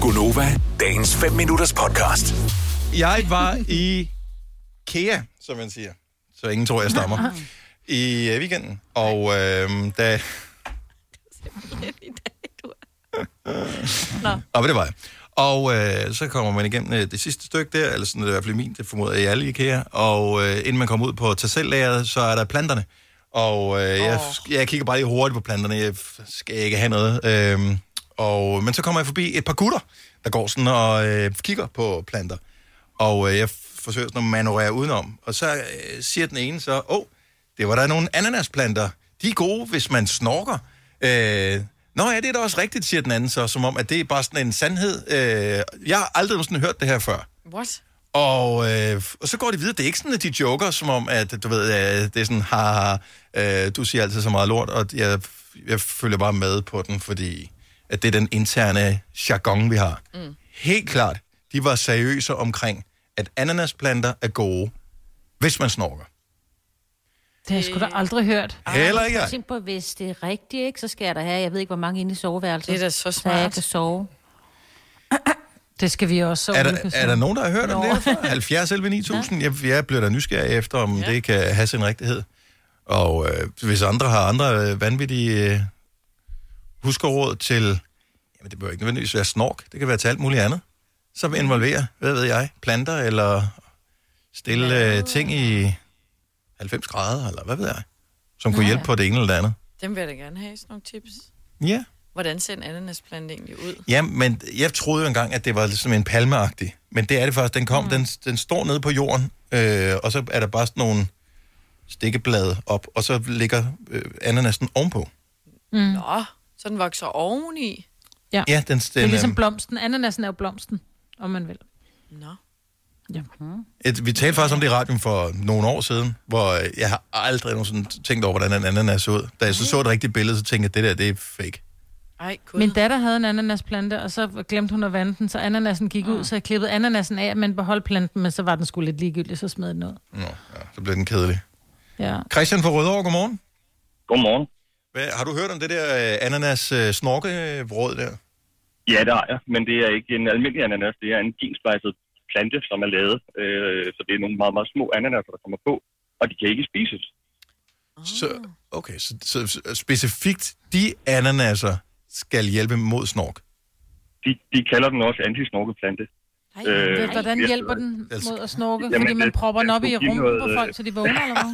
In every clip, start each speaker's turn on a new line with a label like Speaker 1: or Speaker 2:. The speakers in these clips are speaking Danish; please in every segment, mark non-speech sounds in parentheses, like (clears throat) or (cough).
Speaker 1: Gunova, dagens 5 minutters podcast.
Speaker 2: Jeg var i Kea, som man siger. Så ingen tror, jeg stammer. I øh, weekenden. Og øh, da...
Speaker 3: (laughs) i dag, du (laughs) Nå,
Speaker 2: Nå, men det var jeg. Og øh, så kommer man igennem øh, det sidste stykke der, eller sådan, det er i hvert fald i min, det formoder jeg i alle IKEA. Og øh, inden man kommer ud på tassellæret, så er der planterne. Og øh, jeg, jeg kigger bare lige hurtigt på planterne, jeg f- skal ikke have noget. Øh, og, men så kommer jeg forbi et par gutter, der går sådan og øh, kigger på planter. Og øh, jeg f- forsøger sådan at manøvrere udenom. Og så øh, siger den ene så, åh, oh, det var der nogle ananasplanter. De er gode, hvis man snorker. Øh, Nå ja, det er da også rigtigt, siger den anden så, som om, at det er bare sådan en sandhed. Øh, jeg har aldrig nogensinde hørt det her før.
Speaker 3: what?
Speaker 2: Og, øh, og så går de videre. Det er ikke sådan, at de joker, som om, at du ved, øh, det er sådan, haha, øh, du siger altid så meget lort, og jeg, jeg følger bare med på den, fordi at det er den interne jargon, vi har. Mm. Helt klart, de var seriøse omkring, at ananasplanter er gode, hvis man snorker.
Speaker 4: Det har jeg sgu da
Speaker 5: Øh,
Speaker 4: aldrig hørt.
Speaker 2: Heller ikke jeg.
Speaker 5: Tænk på, hvis det er rigtigt, ikke, så skal jeg da have, jeg ved ikke, hvor mange inde i soveværelset.
Speaker 3: Det er da så
Speaker 5: Så jeg
Speaker 3: smart.
Speaker 5: kan sove.
Speaker 4: (clears throat) Det skal vi også så
Speaker 2: Er der,
Speaker 4: Ulrik,
Speaker 2: er
Speaker 4: så.
Speaker 2: der nogen, der har hørt om det her før? 70 11 9000? Jeg, jeg bliver da nysgerrig efter, om ja. det kan have sin rigtighed. Og øh, hvis andre har andre øh, vanvittige øh, huskeråd til... Jamen, det behøver ikke nødvendigvis være snork. Det kan være til alt muligt andet. Som involverer, hvad ved jeg, planter eller stille øh, ting i 90 grader, eller hvad ved jeg, som kunne hjælpe på det ene eller det andet.
Speaker 3: Dem vil jeg da gerne have, sådan nogle tips.
Speaker 2: Ja.
Speaker 3: Hvordan ser en ananasplante egentlig ud?
Speaker 2: Ja, men jeg troede jo engang, at det var ligesom en palmeagtig. Men det er det faktisk. Den kom, mm. den, den står nede på jorden, øh, og så er der bare sådan nogle stikkeblade op, og så ligger øh, ananasen ovenpå.
Speaker 3: Nå, så den vokser oveni.
Speaker 2: Ja, den, den,
Speaker 4: Det er ligesom
Speaker 2: øh,
Speaker 4: blomsten. Ananasen er jo blomsten, om man vil. Mhm.
Speaker 3: Nå.
Speaker 4: Ja.
Speaker 2: et, vi talte faktisk om det i radioen for nogle år siden, hvor øh, jeg har aldrig nogensinde tænkt over, hvordan en ananas så ud. Da jeg så så et rigtigt billede, så tænkte jeg, det der, det er fake.
Speaker 3: Ej, gud.
Speaker 4: Min datter havde en ananasplante, og så glemte hun at vande den, så ananasen gik
Speaker 5: Ah.
Speaker 4: ud, så jeg klippede ananasen af, men beholdt planten, men så var den sgu lidt ligegyldig, så smed jeg den ud.
Speaker 2: Nå, ja, så blev den kedelig.
Speaker 4: Ja.
Speaker 2: Christian fra Rødovre, godmorgen.
Speaker 6: Godmorgen.
Speaker 2: Hvad, har du hørt om det der øh, ananas øh, snorkeråd der?
Speaker 6: Ja, det har jeg, men det er ikke en almindelig ananas. Det er en gensplejset plante, som er lavet. Øh, så det er nogle meget, meget små ananaser, der kommer på, og de kan ikke spises.
Speaker 2: Så, okay, så, så, så specifikt de ananaser skal hjælpe mod snork.
Speaker 6: De, de kalder den også antisnorkeplante.
Speaker 3: Ej,
Speaker 6: Øh,
Speaker 4: Øh, Hvordan
Speaker 6: jeg
Speaker 4: hjælper
Speaker 6: ved
Speaker 4: den
Speaker 2: Altså-
Speaker 4: mod at snorke?
Speaker 6: Jamen,
Speaker 4: Fordi man
Speaker 6: det-
Speaker 4: propper den
Speaker 6: det
Speaker 4: op i
Speaker 6: skulle give
Speaker 4: rummet på
Speaker 6: noget,
Speaker 4: folk,
Speaker 6: øh,
Speaker 4: så de vågner eller hvad?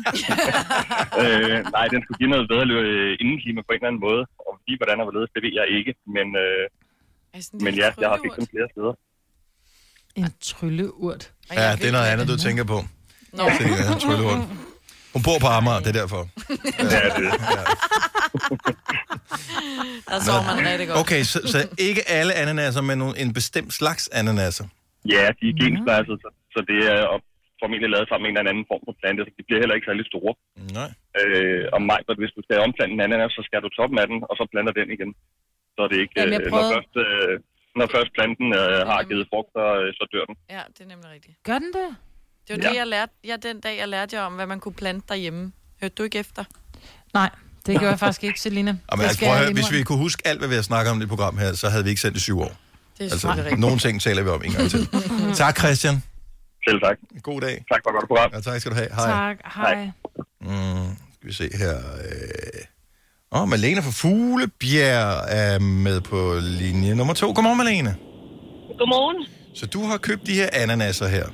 Speaker 6: øh, nej, den skulle give noget bedre øh, indeklima på en eller anden måde. Og lige hvordan og hvorledes, det ved jeg ikke. Men, øh,
Speaker 3: Ej, sådan en
Speaker 6: men
Speaker 3: lille
Speaker 6: ja, jeg har
Speaker 3: krydderurt.
Speaker 6: fik dem flere steder. (laughs)
Speaker 4: En trylleurt.
Speaker 3: Ej, jeg
Speaker 2: Ja,
Speaker 3: ved
Speaker 2: det er noget
Speaker 3: ikke,
Speaker 2: andet, du tænker på.
Speaker 3: Nå,
Speaker 2: Det er en tryllerund. Hun bor på Amager, det er derfor.
Speaker 6: Ja, det,
Speaker 3: der sover man rigtig godt.
Speaker 2: Okay, så, så ikke alle ananaser, men nogle- en bestemt slags ananaser.
Speaker 6: ja, de er gensplejset, så, så det er og formentlig lavet sammen med en eller anden form for plante, så de bliver heller ikke særlig store.
Speaker 2: Nej.
Speaker 6: øh, om mig, at hvis du skal omplante en ananas, så skal du toppen af den, og så planter den igen. Så er det ikke,
Speaker 4: Jamen, jeg
Speaker 6: øh, når,
Speaker 4: prøvede-
Speaker 6: først, øh, når først planten øh, har givet frugt, så, øh, så dør den.
Speaker 3: Ja, det er nemlig rigtigt.
Speaker 4: Gør den det?
Speaker 3: Det var
Speaker 6: Ja.
Speaker 3: det, jeg lærte. Ja, den dag, jeg lærte jer om, hvad man kunne plante derhjemme. Hørte du ikke efter?
Speaker 4: Nej, det gjorde jeg faktisk ikke, Selina.
Speaker 2: (laughs) Jamen, altså, prøv at høre, hvis vi kunne huske alt, hvad vi har snakket om i det program her, så havde vi ikke sendt i syv år.
Speaker 3: Det er selvfølgelig
Speaker 2: Altså,
Speaker 3: rigtigt.
Speaker 2: nogle ting taler vi om en gang
Speaker 3: (laughs)
Speaker 2: til. Tak, Christian.
Speaker 6: Selv tak.
Speaker 2: God dag.
Speaker 6: Tak for et godt program.
Speaker 2: Ja, tak skal du have. altså, Hej.
Speaker 4: Tak, hej.
Speaker 2: Skal vi se her. øh. Åh, oh, Malene fra Fuglebjerg er med på linje nummer to. Godmorgen, Malene.
Speaker 7: Godmorgen.
Speaker 2: Så du har købt de her ananaser her.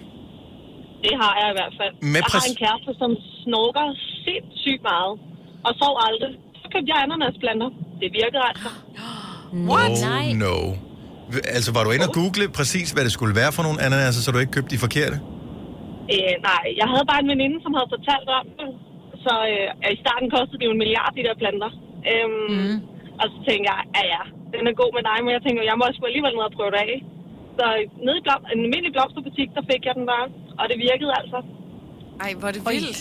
Speaker 7: Det har jeg i hvert fald.
Speaker 2: Med
Speaker 7: jeg har
Speaker 2: præc-
Speaker 7: en kæreste, som snorker sindssygt meget, og sov aldrig. Så købte jeg ananasblander. Det virkede altså.
Speaker 2: (gasps)
Speaker 5: What?
Speaker 2: Oh
Speaker 5: Nej.
Speaker 2: no. V- Altså, var du inde og google præcis, hvad det skulle være for nogle ananaser, så du ikke købte de forkerte?
Speaker 7: Øh, nej, jeg havde bare en veninde, som havde fortalt om det. Så øh, i starten kostede det jo en milliard, de der planter. Øhm, mm. Og så tænkte jeg, ja ja, den er god med dig, men jeg tænkte, jeg må også alligevel ned og prøve det af. Så øh, nede i blom- en almindelig blomsterbutik, der fik jeg den bare, og det virkede altså.
Speaker 2: Mm.
Speaker 3: Ej, hvor er det vildt.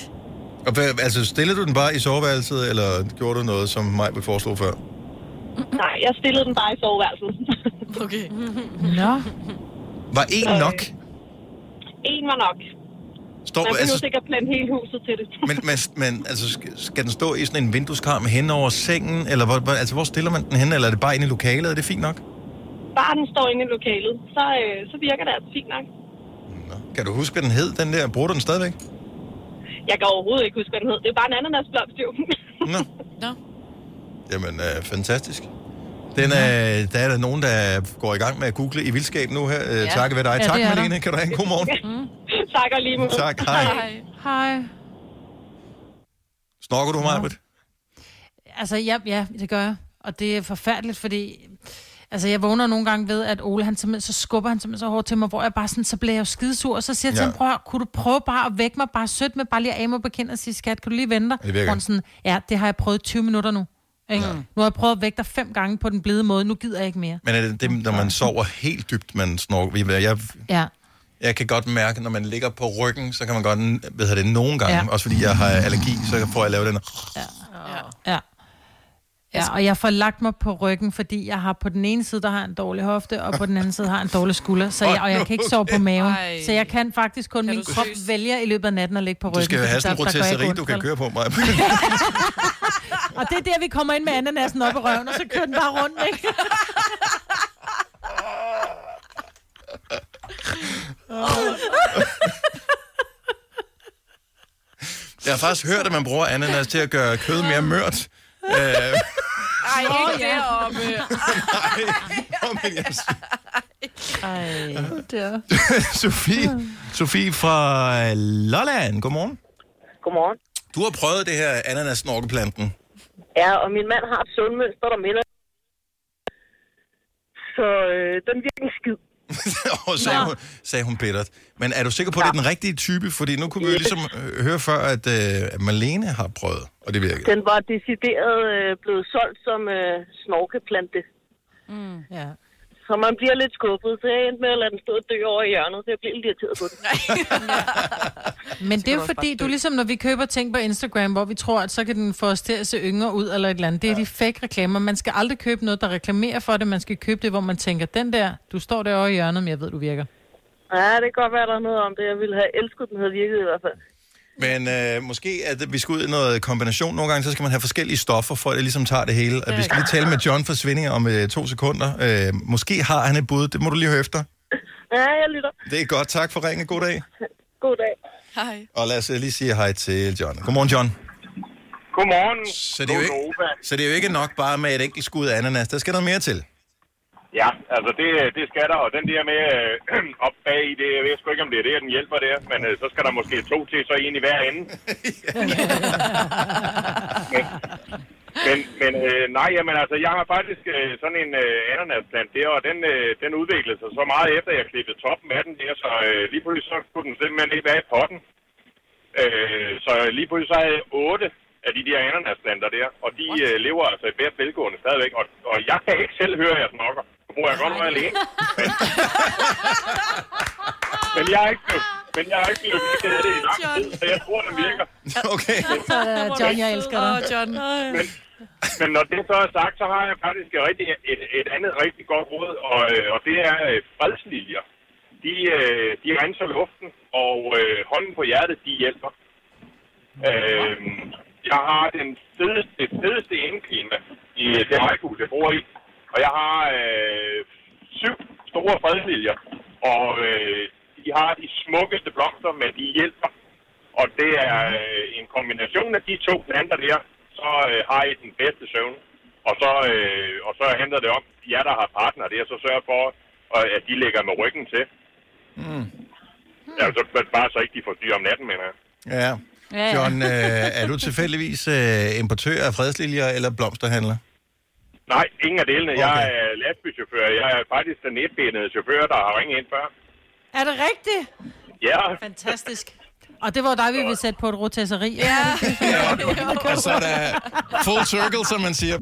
Speaker 2: Og hvad, altså, stillede du den bare i soveværelset, eller gjorde du noget, som mig vil foreslå før?
Speaker 7: Nej, jeg stillede den bare i soveværelset. (laughs)
Speaker 3: Okay.
Speaker 4: Nå,
Speaker 2: Var en nok?
Speaker 7: en var nok.
Speaker 2: Står,
Speaker 7: Man behøver
Speaker 2: altså,
Speaker 7: sikkert plante hele huset til det.
Speaker 2: men, men, men altså, sk- skal den stå i sådan en vindueskarm hen over sengen, eller hvor, hvor, altså, hvor stiller man den hen, eller er det bare inde i lokalet? Er det fint nok?
Speaker 7: bare den står inde i lokalet, så, øh, så virker det altså fint nok.
Speaker 2: Nå. Kan du huske, hvad den hed, den der? Bruger du den stadigvæk?
Speaker 7: Jeg kan overhovedet ikke huske, hvad den hed. Det er bare en ananasblomst, jo. (laughs)
Speaker 4: (laughs)
Speaker 2: Nå.
Speaker 3: Nå.
Speaker 2: Jamen, øh, fantastisk. Den er, der er der nogen, der går i gang med at google i vildskab nu her. Øh, ja. Takket ved dig.
Speaker 4: Ja,
Speaker 2: tak,
Speaker 4: det er der.
Speaker 2: Malene. Kan du have en god morgen?
Speaker 7: tak og lige måde.
Speaker 2: (laughs) tak, hej.
Speaker 3: Hej.
Speaker 4: Hej.
Speaker 2: Snorker du, Majbet?
Speaker 4: Altså, ja, ja, det gør jeg. Og det er forfærdeligt, fordi... Altså, jeg vågner nogle gange ved, at Ole, han simpelthen, så skubber han simpelthen så hårdt til mig, hvor jeg bare sådan, så bliver jeg jo skidesur, og så siger jeg til
Speaker 2: Ja.
Speaker 4: ham, prøv, at høre, kunne du prøve bare at vække mig bare sødt med bare lige at af mig bekendt og sige, skat, kan du lige vente dig?
Speaker 2: Det virker.
Speaker 4: Hvor han sådan, ja, det har jeg prøvet i 20 minutter nu. Ikke? Nu har jeg prøvet at vække dig fem gange på den blide måde, nu gider jeg ikke mere.
Speaker 2: Men er det, det, når man sover helt dybt, man snorker? Jeg, jeg
Speaker 4: Ja.
Speaker 2: Jeg kan godt mærke, når man ligger på ryggen, så kan man godt, ved jeg det, nogle gange, ja.
Speaker 4: Ja.
Speaker 2: også fordi jeg har allergi, så får jeg lavet den.
Speaker 4: Ja. Ja, og jeg får lagt mig på ryggen, fordi jeg har på den ene side, der har jeg en dårlig hofte, og på den anden side har jeg en dårlig skulder, så jeg, og jeg kan ikke sove på maven.
Speaker 3: Ej.
Speaker 4: Så jeg kan faktisk kun,
Speaker 3: Er
Speaker 4: min
Speaker 3: du
Speaker 4: krop
Speaker 3: seriøs?
Speaker 4: vælger i løbet af natten at ligge på ryggen.
Speaker 2: Du skal jo have
Speaker 4: fordi
Speaker 2: sådan en
Speaker 4: der- der går
Speaker 2: rotesseri,
Speaker 4: jeg ikke
Speaker 2: du kan
Speaker 4: ondt.
Speaker 2: køre på mig.
Speaker 4: Og det er der, vi kommer ind med ananasen op i røven, og så kører den bare rundt, ikke?
Speaker 2: (laughs) Jeg har faktisk hørt, at man bruger ananas til at gøre kød mere mørt. Øh, nej,
Speaker 3: Ej, ikke (laughs) deroppe.
Speaker 2: men jeg
Speaker 4: Ej.
Speaker 2: (laughs) Sofie, Sofie fra Lolland, godmorgen.
Speaker 8: Godmorgen.
Speaker 2: Du har prøvet det her ananas-snorkeplanten.
Speaker 8: Ja, og min mand har et sundmønster, der minder. Så øh, den virker en skid.
Speaker 2: (laughs) og sagde hun, sagde hun bittert. Men er du sikker på, at det er den rigtige type? Fordi nu kunne vi jo ligesom øh, høre før, at, øh, at Malene har prøvet, og det virker.
Speaker 8: Den var decideret øh, blevet solgt som øh, snorkeplante.
Speaker 4: Ja.
Speaker 8: Så man bliver lidt skuffet, så jeg endte med at lade den stå og dø over i hjørnet, så jeg blev lidt irriteret på den.
Speaker 4: Men det er jo fordi, du ligesom når vi køber ting på Instagram, hvor vi tror, at så kan den få os til at se yngre ud eller et eller andet. Det er ja. de fake reklamer. Man skal aldrig købe noget, der reklamerer for det. Man skal købe det, hvor man tænker, den der, du står derovre i hjørnet, men jeg ved, du virker.
Speaker 8: Ja, det kan godt være, der er noget om det. Jeg ville have elsket, den havde virket i hvert fald.
Speaker 2: Men øh, måske, at vi skal ud i noget kombination nogle gange, så skal man have forskellige stoffer, for at det ligesom tager det hele. Og vi skal lige tale med John for Svindinger om øh, to sekunder. Øh, måske har han et bud, det må du lige høre efter.
Speaker 8: Ja, jeg lytter.
Speaker 2: Det er godt, tak for ringen. God dag.
Speaker 8: God dag.
Speaker 3: Hej.
Speaker 2: Og lad os øh, lige sige hej til John. Godmorgen, John.
Speaker 6: Godmorgen.
Speaker 2: Så det, er jo ikke,
Speaker 6: Godnova.
Speaker 2: så det er jo ikke nok bare med et enkelt skud af ananas. Der skal noget mere til.
Speaker 6: Ja, altså det, det skal der, og den der med øh, (clears throat) op bag i det, jeg ved sgu ikke, om det er det, at den hjælper der, men øh, så skal der måske to til, så en i hver ende. men men, men øh, nej, jamen altså, jeg har faktisk øh, sådan en øh, ananasplant der, og den, øh, den udviklede sig så meget efter, jeg klippede toppen af den der, så øh, lige pludselig så kunne den simpelthen ikke være i potten. Øh, så lige pludselig så havde jeg otte af de der ananasplanter der, og de øh, lever altså i bedre velgående stadigvæk, og, og jeg kan ikke selv høre, at jeg snakker. Nu må jeg godt være alene. Men, (laughs) men jeg er ikke blevet, men jeg er ikke blevet ved det i lang tid, så jeg tror, det virker.
Speaker 2: Okay.
Speaker 4: Så, øh, John, jeg elsker dig.
Speaker 3: Åh, John.
Speaker 6: Men når det så er sagt, så har jeg faktisk et, rigtig, et, et andet rigtig godt råd, og, øh, og det er øh, fredsliljer. De, øh, de renser luften, og øh, hånden på hjertet, de hjælper. Øh, jeg har den fedeste, det fedeste indklima i det højhus, jeg bor i, og jeg har øh, syv store fredsliljer, og øh, de har de smukkeste blomster, men de hjælper og det er øh, en kombination af de to planter der, så øh, har I den bedste søvn. Og så, øh, og så handler det om, at jer, der har partner der, så sørger for, øh, at de ligger med ryggen til. Mm. Ja, så bare så ikke de får dyr om natten, mener jeg.
Speaker 2: Ja.
Speaker 5: Ja, ja.
Speaker 2: John, øh, er du tilfældigvis øh, importør af fredsliljer eller blomsterhandler?
Speaker 6: Nej, ingen af delene. Okay. Jeg
Speaker 2: Okay.
Speaker 6: er lastbilchauffør. Jeg er faktisk den etbenede chauffør, der har ringet ind før.
Speaker 4: Er det rigtigt?
Speaker 6: Ja,
Speaker 4: Fantastisk. Og det var dig, vi ville sætte på et rotesseri. Ja. (laughs)
Speaker 2: Og så er der full circle, som man siger.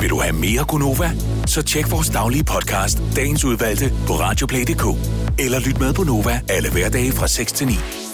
Speaker 1: Vil du have mere Gunova? Så tjek vores daglige podcast, dagens udvalgte, på radioplay.dk. Eller lyt med på Nova alle hverdage fra 6 til 9.